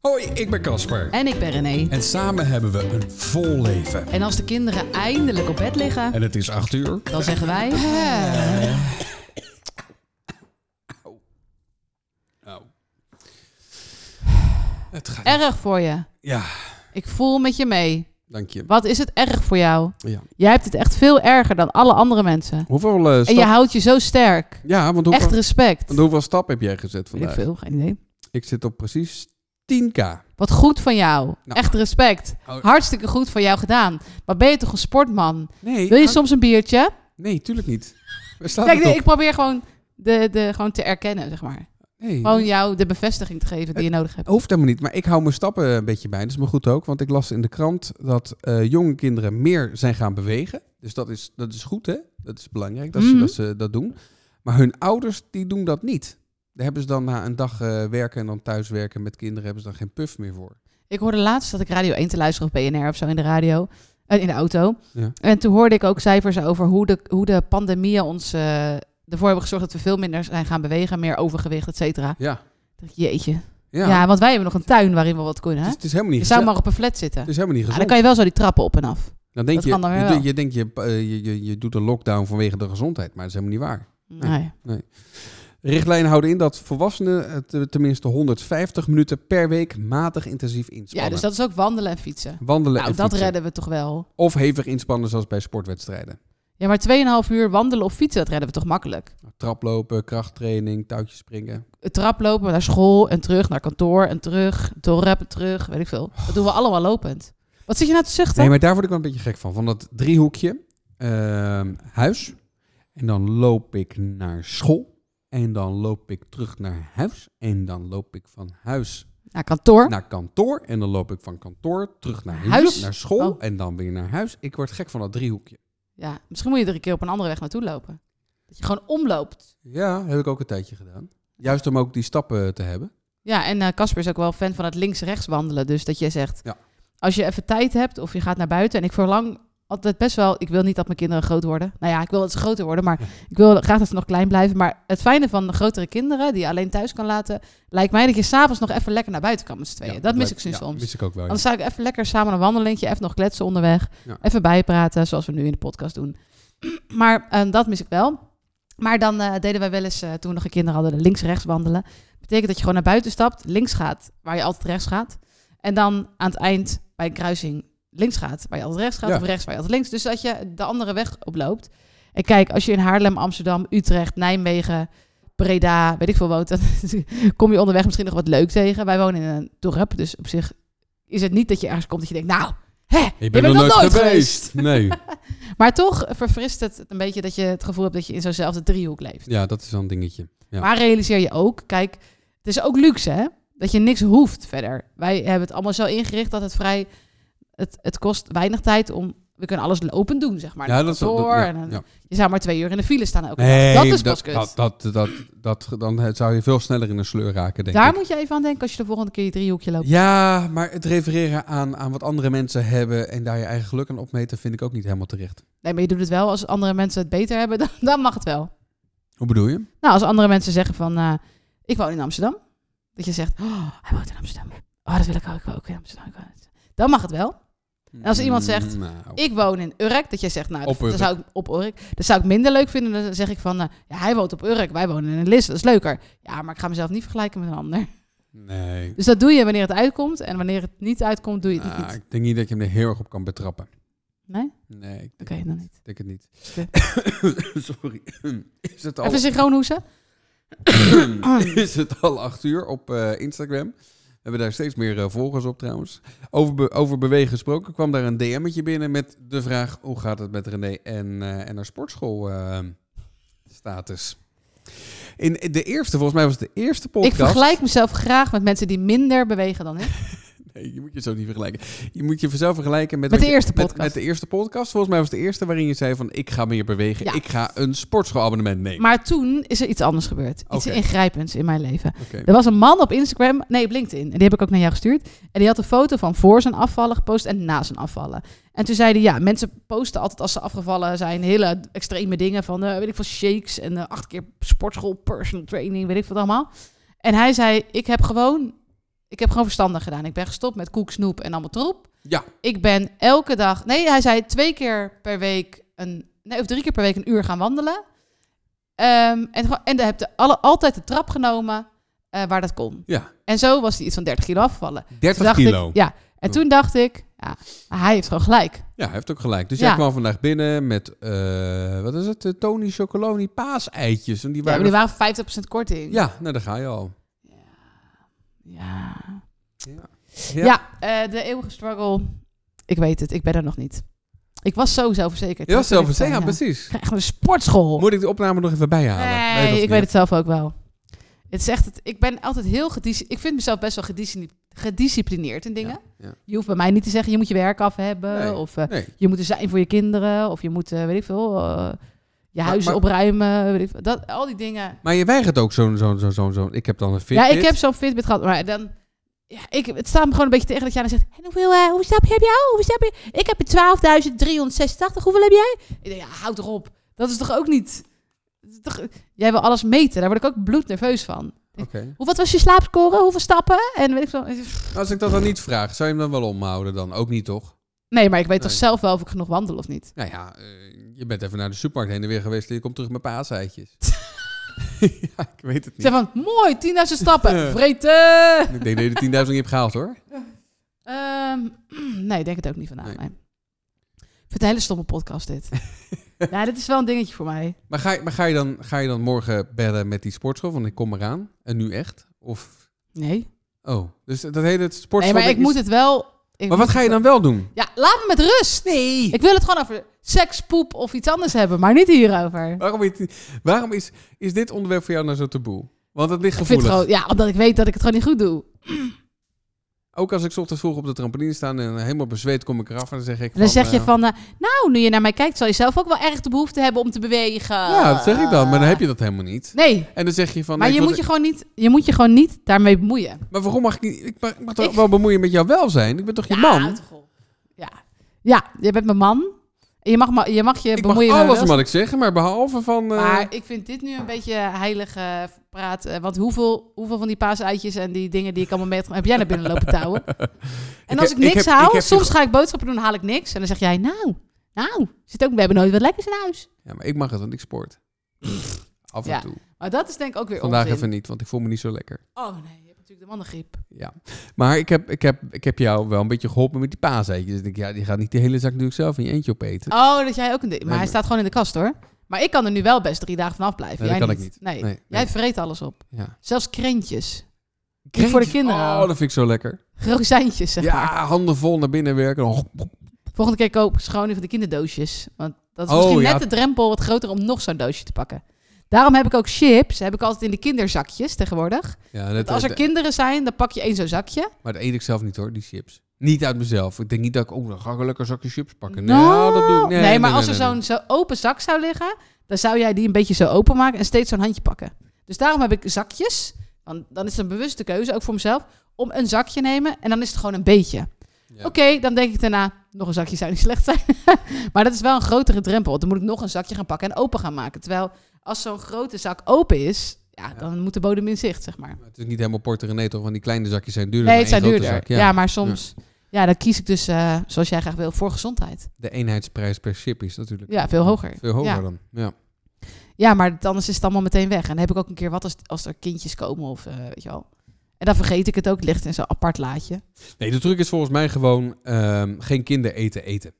Hoi, ik ben Casper. En ik ben René. En samen hebben we een vol leven. En als de kinderen eindelijk op bed liggen, En het is acht uur. dan zeggen wij... Nou. Het gaat. Erg voor je. Ja, Ik voel met je mee. dank je. Wat is het erg voor jou? Ja. Jij hebt het echt veel erger dan alle andere mensen. Hoeveel eh, En stap... je houdt je zo sterk. Ja, want hoeveel, Echt respect. want hoeveel stap heb jij gezet Weet ik vandaag? veel, geen idee. Ik zit op precies 10k. Wat goed van jou. Nou. Echt respect. Oh. Hartstikke goed van jou gedaan. Maar ben je toch een sportman? Nee, Wil je hang- soms een biertje? nee tuurlijk niet. Waar staat Kijk, het nee, op? ik probeer gewoon, de, de, gewoon te erkennen, zeg maar. Nee, Gewoon jou de bevestiging te geven die je nodig hebt. Hoeft helemaal niet, maar ik hou mijn stappen een beetje bij. Dat is maar goed ook, want ik las in de krant dat eh, jonge kinderen meer zijn gaan bewegen. Dus dat is, dat is goed, hè? Dat is belangrijk dat, ze, Mhm. dat ze dat doen. Maar hun ouders, die doen dat niet. Daar hebben ze dan na een dag eh, werken en dan thuiswerken met kinderen, hebben ze dan geen puff meer voor. Ik hoorde laatst dat ik Radio 1 te luisteren of BNR of zo in de radio. eh, in de auto. Ja. En toen hoorde ik ook cijfers over hoe de, hoe de pandemie ons eh, ervoor hebben gezorgd dat we veel minder zijn gaan bewegen. Meer overgewicht, et cetera. Ja, Ik dacht, Jeetje. Ja. ja. want wij hebben nog een tuin waarin we wat kunnen. het, Hè? is, het is helemaal niet Je zou gezond. maar op een flat zitten. Het is helemaal niet Ja, gezond. dan kan je wel zo die trappen op en af. Dan denk dat je, kan dan weer je, wel. doet- je, denkt, je, eh, je, je, je doet een lockdown vanwege de gezondheid, maar dat is helemaal niet waar. Nee. Richtlijnen houden in dat volwassenen eh, te- tenminste 150 minuten per week matig intensief inspannen. Ja, dus dat is ook wandelen en fietsen. Wandelen Nou, en dat fietsen. redden we toch wel. Of hevig inspannen zoals bij sportwedstrijden. Ja, maar 2,5 uur wandelen of fietsen, dat redden we toch makkelijk. Nou, Traplopen, krachttraining, touwtjes springen. Een trap lopen naar school en terug naar kantoor en terug, dorp en terug, weet ik veel. Dat doen we allemaal lopend. Wat zit je nou te zuchten? Nee, maar daar word ik wel een beetje gek van. Van dat driehoekje. ehm, huis. En dan loop ik naar school. En dan loop ik terug naar huis. En dan loop ik van huis Naar kantoor. naar kantoor. En dan loop ik van kantoor terug naar huis. Huis? Naar school. Oh. En dan weer naar huis. Ik word gek van dat driehoekje. Ja, misschien moet je er een keer op een andere weg naartoe lopen. Dat je gewoon omloopt. Ja, heb ik ook een tijdje gedaan. Juist om ook die stappen te hebben. Ja, en eh, Casper is ook wel fan van het links-rechts wandelen. Dus dat je zegt, Ja. als je even tijd hebt of je gaat naar buiten. En ik verlang altijd best wel, ik wil niet dat mijn kinderen groot worden. Nou ja, ik wil dat ze groter worden, maar Ja. ik wil graag dat ze nog klein blijven. Maar het fijne van de grotere kinderen, die je alleen thuis kan laten, lijkt mij dat je s'avonds nog even lekker naar buiten kan met z'n tweeën. Ja, dat mis lijkt- ik sinds ja, soms. mis ik ook wel. ja. Anders zou ik even lekker samen een wandelingetje, even nog kletsen onderweg. Ja. Even bijpraten, zoals we nu in de podcast doen. Maar eh, dat mis ik wel. Maar dan eh, deden wij wel eens, eh, toen we nog een kinderen hadden, links-rechts wandelen. Betekent dat je gewoon naar buiten stapt, links gaat, waar je altijd rechts gaat. En dan aan het eind bij een kruising links gaat, waar je altijd rechts gaat. Ja. Of rechts, waar je altijd links. Dus dat je de andere weg oploopt. En kijk, als je in Haarlem, Amsterdam, Utrecht, Nijmegen, Breda, weet ik veel woont, dan kom je onderweg misschien nog wat leuk tegen. Wij wonen in een dorp, dus op zich is het niet dat je ergens komt dat je denkt, nou, hè, je bent nog nooit geweest. Nee. Maar toch verfrist het een beetje dat je het gevoel hebt dat je in zo'nzelfde driehoek leeft. Ja, dat is dan een dingetje. Ja. Maar realiseer je ook, kijk, het is ook luxe hè, dat je niks hoeft verder. Wij hebben het allemaal zo ingericht dat het vrij, het, het kost weinig tijd om, we kunnen alles lopend doen, zeg maar. ja, Naar dat is kantoor dat- ja, en dan- ja. Je zou maar twee uur in de file staan ook. Nee, dat is dat, pas kut. dat, dat, dat, dat- dan zou je veel sneller in een sleur raken, denk Daar ik. moet je even aan denken als je de volgende keer je driehoekje loopt. Ja, maar het refereren aan, aan wat andere mensen hebben en daar je eigen geluk aan opmeten, vind ik ook niet helemaal terecht. Nee, maar je doet het wel als andere mensen het beter hebben, dan, dan mag het wel. Hoe bedoel je? Nou, als andere mensen zeggen van, eh, ik woon in Amsterdam. Dat je zegt, oh, hij woont in Amsterdam. Oh, dat wil ik ook. Ik woon ook in Amsterdam. Ik woon in Amsterdam. Dan mag het wel. als iemand zegt, Nou, Ik woon in Urk. Dat jij zegt, nou, Op dat, Urk. zou ik op Urk. Dat zou ik minder leuk vinden. Dan zeg ik van, eh, ja, hij woont op Urk. Wij wonen in Lisse. Dat is leuker. Ja, maar ik ga mezelf niet vergelijken met een ander. nee. Dus dat doe je wanneer het uitkomt. En wanneer het niet uitkomt, doe je het Nou, niet. ik denk niet dat je hem er heel erg op kan betrappen. Nee? Oké, Nee, ik denk, dan niet. ik denk het niet. Oké. Sorry. Is het al... Even synchroon hoesten. is het al acht uur op eh, Instagram. We hebben daar steeds meer eh, volgers op trouwens. Over, be- over bewegen gesproken kwam daar een DM'tje binnen met de vraag... hoe gaat het met René en, eh, en haar sportschool eh, status? In de eerste, volgens mij was het de eerste Ik podcast... vergelijk mezelf graag met mensen die minder bewegen dan ik. Nee, je moet je zo niet vergelijken. Je moet je zelf vergelijken met... Met de wat je- eerste met- podcast. Met, de eerste podcast. Volgens mij was het de eerste waarin je zei van... ik ga meer bewegen, Ja. ik ga een sportschoolabonnement nemen. Maar toen is er iets anders gebeurd. Iets Oké. ingrijpends in mijn leven. Oké. Er was een man op Instagram, nee op LinkedIn, en die heb ik ook naar jou gestuurd. En die had een foto van voor zijn afvallen gepost en na zijn afvallen. En toen zei hij, ja, mensen posten altijd als ze afgevallen zijn hele extreme dingen van, eh, weet ik veel, shakes en eh, acht keer sportschool, personal training, weet ik wat allemaal. En hij zei, ik heb gewoon Ik heb gewoon verstandig gedaan. Ik ben gestopt met koek, snoep en allemaal troep. Ja. Ik ben elke dag... Nee, hij zei twee keer per week een... Nee, of drie keer per week een uur gaan wandelen. Ehm, en gewoon- en heb de, alle, altijd de trap genomen eh, waar dat kon. Ja. En zo was hij iets van 30 kilo afgevallen. Toen 30 dacht kilo. Oh. Ik, ja, en toen dacht ik, ja, hij heeft gewoon gelijk. Ja, hij heeft ook gelijk. Dus Ja. jij kwam vandaag binnen met, eh, wat is het, Eh, Tony Chocoloni paaseitjes. En die Ja, maar waren... die Ja, waren 50% korting. nou daar ga je al. Ja, Ja. ja. eh, de eeuwige struggle. Ik weet het, ik ben er nog niet. Ik was zo zelfverzekerd. Je was Dat wil zelf ik ja, zeggen. precies. Ik ga echt naar de sportschool. Moet ik de opname nog even bijhalen? nee, dat ik niet. weet het zelf ook wel. Het is echt, het, ik ben altijd heel gedisciplineerd. Ik vind mezelf best wel gediscipli- gedisciplineerd in dingen. ja. Je hoeft bij mij niet te zeggen, je moet je werk af hebben. Nee, Of eh, Nee. je moet er zijn voor je kinderen. Of je moet, eh, weet ik veel, eh, je huis maar- opruimen. Weet ik veel. Dat, al die dingen. Maar je weigert ook zo'n, zo'n, zo'n, zo'n, zo'n- ik heb dan een Fitbit. Ja, ik heb zo'n Fitbit gehad, maar dan... Ja, ik, het staat me gewoon een beetje tegen dat jij dan zegt... En hoeveel, eh, hoeveel stap heb jij? Hoeveel stap heb je? Ik heb er 12.386. Hoeveel heb jij? Ik denk, ja, houd toch op. Dat is toch ook niet... dat is toch- jij wil alles meten. Daar word ik ook bloednerveus van. Oké. Nou, Hoe, wat was je slaapscore? Hoeveel stappen? En weet ik veel. Als ik dat dan niet vraag, zou je hem dan wel omhouden dan? Ook niet, toch? Nee, maar ik weet toch Nee. zelf wel of ik genoeg wandel of niet. Nou ja, eh, je bent even naar de supermarkt heen en weer geweest en je komt terug met paaseitjes. ja, ik weet het Ik niet. zeg van, mooi, 10.000 stappen. Vreten! Ik denk dat je de 10.000 niet hebt gehaald, hoor. Ehm, nee, ik denk het ook niet vandaan. Nee. nee. Ik vind het een hele stomme podcast dit. ja, dit is wel een dingetje voor mij. Maar, ga, je- maar ga, je dan, ga je dan morgen bellen met die sportschool? Want ik kom eraan. En nu echt? Of... Nee. Oh, dus dat hele Nee, sportschool... maar ik ding moet is- het wel... Maar ik moet wat ga je het dan wel doen? wel- Ja, laat me met rust. Nee! Ik wil het gewoon over seks, poep of iets anders hebben, maar niet hierover. Waarom, je het niet- waarom is, is dit onderwerp voor jou nou zo taboe? Want het ligt Ik vind gevoelig. het gewoon, ja, omdat ik weet dat ik het gewoon niet goed doe. Ook als ik 's ochtends vroeg op de trampoline sta en helemaal bezweet kom ik eraf en dan zeg ik En dan van, zeg je eh, van, eh, nou, nu je naar mij kijkt, zal je zelf ook wel erg de behoefte hebben om te bewegen. Ja, dat zeg ik dan. Maar dan heb je dat helemaal niet. Nee, En dan zeg je van... "Ah." maar nee, je ik moet wil- je, gewoon niet, je moet je gewoon niet daarmee bemoeien. Maar waarom mag ik niet... Ik mag, ik mag toch Ik- wel bemoeien met jouw welzijn? Ik ben toch je ja, man? houd toch op. Ja. ja, je bent mijn man. En je mag, ma- je, mag je ik mag bemoeien met alles mijn mag ik zeggen, maar behalve van... eh, Maar ik vind dit nu een beetje heilige praat. eh, Want hoeveel, hoeveel van die paasuitjes en die dingen die ik allemaal mee heb, heb jij naar binnen lopen touwen? En Ik als ik heb- ik niks heb- haal, ik heb je soms ge- ga ik boodschappen doen, dan haal ik niks. En dan zeg jij, nou, nou, zit ook, we hebben nooit wat lekkers in huis. Ja, maar ik mag het, want ik sport. Af en Ja, toe. Maar dat is denk ik ook weer Vandaag onzin. even niet, want ik voel me niet zo lekker. Oh nee, je hebt natuurlijk de mannengriep. Ja. Maar ik heb, ik, heb, ik heb jou wel een beetje geholpen met die paaseitjes. Ik denk, ja, die gaat niet de hele zak natuurlijk zelf in je eentje opeten. Oh, dat jij ook een ding. Maar Nee, hij maar- staat gewoon in de kast hoor. Maar ik kan er nu wel best drie dagen vanaf blijven. Nee, dat jij kan ik niet. Oh, Nee. Nee, jij nee. vreet alles op. Ja. Zelfs krentjes, Niet voor de kinderen Oh, al. dat vind ik zo lekker. rozijntjes zeg maar. Ja, handen vol naar binnen werken. Oh, Volgende keer koop ik schoon van de kinderdoosjes. Want dat is Oh, misschien ja. net de drempel wat groter om nog zo'n doosje te pakken. Daarom heb ik ook chips. Heb ik altijd in de kinderzakjes tegenwoordig. Ja, Want dat, als er dat- kinderen zijn, dan pak je één zo'n zakje. maar dat eet ik zelf niet hoor, die chips. Niet uit mezelf. Ik denk niet dat ik, oh, dan ga ik een lekker zakje chips pakken. Nee, Nou, dat doe ik. Nee, maar als er nee, zo'n nee. zo open zak zou liggen, dan zou jij die een beetje zo openmaken en steeds zo'n handje pakken. Dus daarom heb ik zakjes. Want dan is het een bewuste keuze, ook voor mezelf, om een zakje nemen en dan is het gewoon een beetje. Ja. Oké, dan denk ik daarna, nog een zakje zou niet slecht zijn. maar dat is wel een grotere drempel. Want dan moet ik nog een zakje gaan pakken en open gaan maken. Terwijl als zo'n grote zak open is, ja, Ja. dan moet de bodem in zicht, zeg maar. Maar Het is niet helemaal porter en toch, want die kleine zakjes zijn duurder dan Nee, het zijn één grote duurder. zak. ja. maar soms... Ja, dan kies ik dus, eh, zoals jij graag wil, voor gezondheid. De eenheidsprijs per chip is natuurlijk Ja, veel hoger. veel hoger Ja, dan. Ja. ja maar het- anders is het allemaal meteen weg. En dan heb ik ook een keer wat als, als er kindjes komen of eh, weet je wel. En dan vergeet ik het ook, het ligt in zo'n apart laadje. Nee, de truc is volgens mij gewoon ehm, geen kinder eten eten.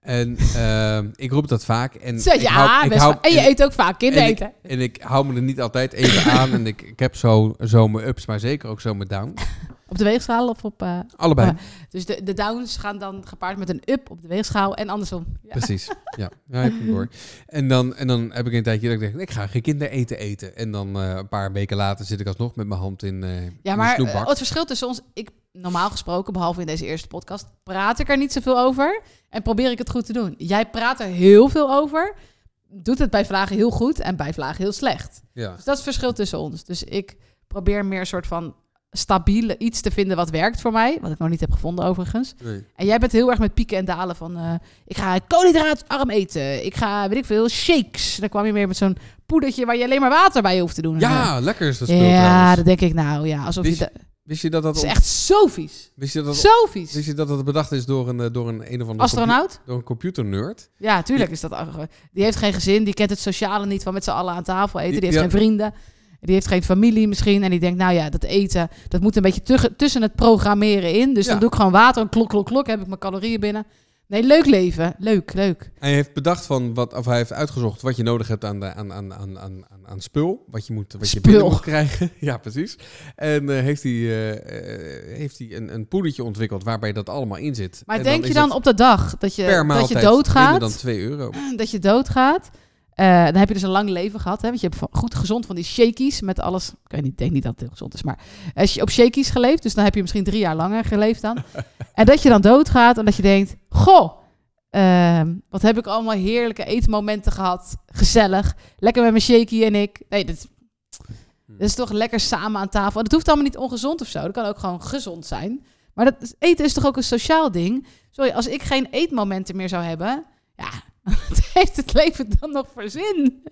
En ehm, ik roep dat vaak. En Zo, ik ja, hou- ik best hou- wel. En je en- eet ook vaak kindereten. En ik hou me er niet altijd even aan. En ik, ik heb zo, zo mijn ups, maar zeker ook zo mijn downs. Op de weegschaal of op... eh, Allebei, Ja. Dus de, de downs gaan dan gepaard met een up op de weegschaal en andersom. Ja. precies. Ja, ja heb ik hem door. En dan, en dan heb ik een tijdje dat ik denk, ik ga geen kinder eten eten. En dan eh, een paar weken later zit ik alsnog met mijn hand in, eh in Ja, de maar eh, snoepbak. het verschil tussen ons... Ik, normaal gesproken, behalve in deze eerste podcast, praat ik er niet zoveel over. En probeer ik het goed te doen. Jij praat er heel veel over. Doet het bij vlagen heel goed en bij vlagen heel slecht. ja. Dus dat is het verschil tussen ons. Dus ik probeer meer een soort van stabiele iets te vinden wat werkt voor mij. Wat ik nog niet heb gevonden overigens. Nee. En jij bent heel erg met pieken en dalen van... eh, ik ga koolhydraatarm eten. Ik ga, weet ik veel, shakes. Dan kwam je meer met zo'n poedertje waar je alleen maar water bij hoeft te doen. En, ja, lekker is dat eh, spul ja, trouwens. dat denk ik nou. Ja, alsof Wist je... da- Wist je dat dat, Het is op- echt zo vies. wist je dat, dat, Zo vies. wist je dat, dat bedacht is door een, eh, door een, een of andere compu- Astronaut? door een computernerd? Ja, tuurlijk is dat. arg. Die heeft geen gezin, die kent het sociale niet van met z'n allen aan tafel eten. Die heeft Ja. geen vrienden, die heeft geen familie misschien. En die denkt, nou ja, dat eten, dat moet een beetje tugge- tussen het programmeren in. Dus Ja. dan doe ik gewoon water en klok, klok, klok, heb ik mijn calorieën binnen. Nee, leuk leven. Leuk, leuk. Hij heeft bedacht van wat, of hij heeft uitgezocht wat je nodig hebt aan, de, aan, aan, aan, aan, aan, aan spul. Wat je, moet, wat je Spul. binnen moet krijgen. ja, precies. En eh, heeft hij, eh, eh, heeft hij een, een poedertje ontwikkeld waarbij dat allemaal in zit. Maar En denk is je dan het op de dag dat per je, dat je maaltijd doodgaat? minder dan 2 euro? dat je doodgaat. Eh, dan heb je dus een lang leven gehad. Hè? Want je hebt van- goed gezond van die shakies met alles. Ik weet niet, ik denk niet dat het heel gezond is. Maar als je op shakies geleefd, dus dan heb je misschien drie jaar langer geleefd dan. en dat je dan doodgaat en dat je denkt: Goh, ehm, wat heb ik allemaal heerlijke eetmomenten gehad. Gezellig. Lekker met mijn shaky en ik. Nee, dat, dat is toch lekker samen aan tafel. En dat hoeft allemaal niet ongezond of zo. Dat kan ook gewoon gezond zijn. Maar dat, is- eten is toch ook een sociaal ding? Sorry, als ik geen eetmomenten meer zou hebben... Ja, wat heeft het leven dan nog voor zin?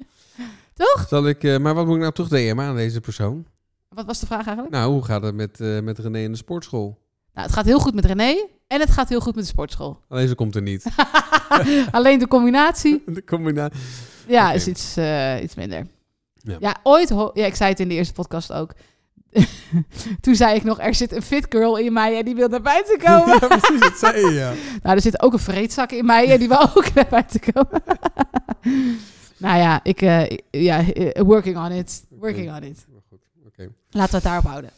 Zal ik, eh, maar wat moet ik nou terug DM aan deze persoon? Wat was de vraag eigenlijk? Nou, hoe gaat het met, eh, met René in de sportschool? Nou, het gaat heel goed met René. En het gaat heel goed met de sportschool. Alleen ze komt er niet. Alleen de combinatie de combinatie. ja, Oké. is iets, eh, iets minder. Ja. Ja, ooit... ho- ja, ik zei het in de eerste podcast ook. Toen zei ik nog, er zit een fit girl in mij en die wil naar buiten komen. ja, precies, dat zei je, ja. Nou, er zit ook een vreedzak in mij en die wil ook naar buiten komen. nou ja, ik, eh, ik- ja, eh, working on it. Working on it. Maar goed, oké. Laten we het daarop houden.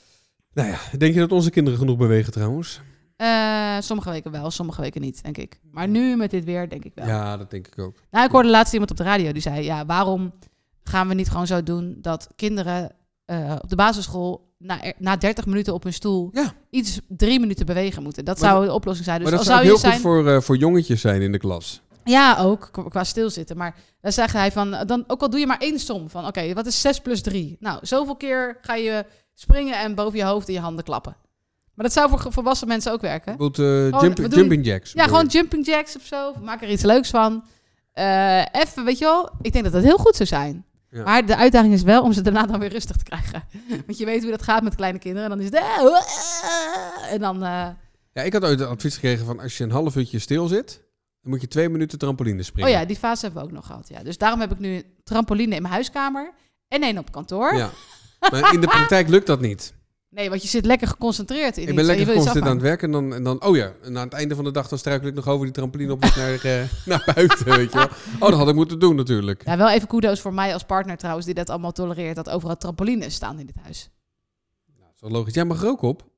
Nou ja, denk je dat onze kinderen genoeg bewegen trouwens? Eh, sommige weken wel, sommige weken niet, denk ik. Maar nu met dit weer, denk ik wel. Ja, dat denk ik ook. Nou, ik hoorde laatst iemand op de radio die zei: Ja, waarom gaan we niet gewoon zo doen dat kinderen eh, op de basisschool na, er- na 30 minuten op hun stoel Ja. iets drie minuten bewegen moeten? Dat Maar zou de oplossing zijn. Dus maar al dat zou ook heel je zijn. goed voor, eh, voor jongetjes zijn in de klas. Ja, ook qua- qua stilzitten. Maar dan zegt hij van, dan, ook al doe je maar één som van, oké, wat is 6 plus 3? Nou, zoveel keer ga je springen en boven je hoofd in je handen klappen. Maar dat zou voor ge- volwassen mensen ook werken. Bijvoorbeeld eh, Oh, jump- we doen- jumping jacks. Ja, bedoel gewoon je? jumping jacks of zo. Of Maak er iets leuks van. Eh, even, weet je wel, ik denk dat dat heel goed zou zijn. Ja. Maar de uitdaging is wel om ze daarna dan weer rustig te krijgen. Want je weet hoe dat gaat met kleine kinderen. En dan is het... eh, En dan... eh, Ja, ik had ooit het advies gekregen van als je een half uurtje stil zit, dan moet je twee minuten trampoline oh springen. ja, die fase hebben we ook nog gehad. Ja. Dus daarom heb ik nu een trampoline in mijn huiskamer. En één op kantoor. Ja. Maar in de praktijk lukt dat niet. Nee, want je zit lekker geconcentreerd in Ik iets ben en lekker je wil iets geconcentreerd aan het afmaken. werken en dan, en dan... Oh ja, en aan het einde van de dag dan struikel ik nog over die trampoline op weg naar, eh, naar buiten, weet je wel. Oh, dat had ik moeten doen natuurlijk. Ja, wel even kudo's voor mij als partner trouwens, die dat allemaal tolereert. Dat overal trampolines staan in dit huis. Dat is wel logisch. Jij mag er ook op.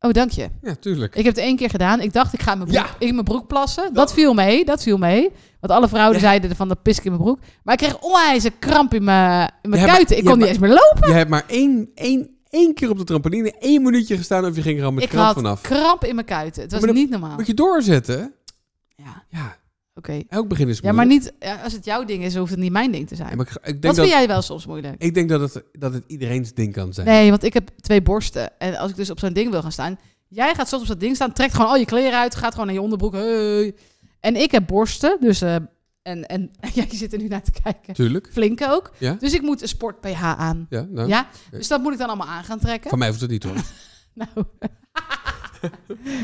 Oh, dank je. Ja, tuurlijk. Ik heb het één keer gedaan. Ik dacht, ik ga in mijn broek, Ja. in mijn broek plassen. Dat, viel mee, dat viel mee. Want alle vrouwen zeiden van, dat pis ik in mijn broek. Maar ik kreeg onwijs een kramp in mijn, in mijn Ja, maar- kuiten. Ik ja, kon maar- niet eens meer lopen. Je hebt maar één, één, één keer op de trampoline één minuutje gestaan of je ging er al met Ik kramp had vanaf. kramp in mijn kuiten. Het was Maar dan niet normaal. Moet je doorzetten? Ja, Ja, oké. elk begin is moeilijk. Ja, maar niet, ja, als het jouw ding is, hoeft het niet mijn ding te Ja, zijn. maar ik, ik Dat denk vind dat, jij wel soms moeilijk. ik denk dat het, dat het iedereen's ding kan zijn. Nee, want ik heb twee borsten. En als ik dus op zo'n ding wil gaan staan... Jij gaat soms op dat ding staan, trekt gewoon al je kleren uit... gaat gewoon in je onderbroek. Hey. En ik heb borsten, dus... eh, en en ja, je zit er nu naar te kijken. Tuurlijk. Flink ook. Ja. Dus ik moet een sport-PH aan. Ja, nou, Ja? Dus dat moet ik dan allemaal aan gaan trekken. Van mij hoeft het niet hoor. Nou.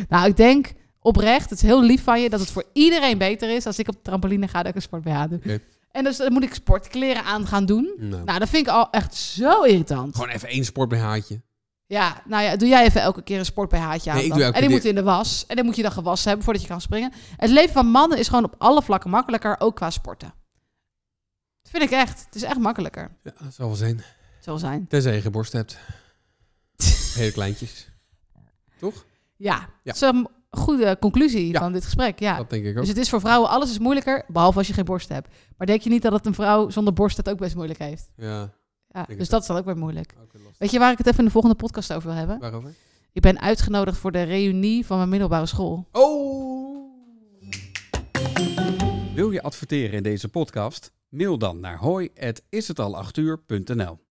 nou, ik denk oprecht, het is heel lief van je... dat het voor iedereen beter is als ik op de trampoline ga... dat ik een sport-PH doe. Oké. En dus dan moet ik sportkleren aan gaan doen. Nou. Nou, dat vind ik al echt zo irritant. Gewoon even één sport bij haatje. Ja, nou ja, doe jij even elke keer een sport bij haatje aan. Nee, ik dan. doe elke en die keer- moet in de was. En dan moet je dan gewassen hebben voordat je kan springen. Het leven van mannen is gewoon op alle vlakken makkelijker, ook qua sporten. Dat vind ik echt. Het is echt makkelijker. Ja, dat zal wel zijn. Het Zal zijn. Tenzij je geen borst hebt. Hele kleintjes. Toch? Ja, Ja. dat is een goede conclusie Ja. van dit gesprek. Ja. Dat denk ik ook. Dus het is voor vrouwen, alles is moeilijker, behalve als je geen borst hebt. Maar denk je niet dat het een vrouw zonder borst het ook best moeilijk heeft? Ja, Ja, het dus ook. dat is dan ook weer moeilijk. ook weer lastig. Weet je waar ik het even in de volgende podcast over wil hebben? Waarover? Ik ben uitgenodigd voor de reunie van mijn middelbare school. Oh! Wil je adverteren in deze podcast? Mail dan naar hoi@ishetal8uur.nl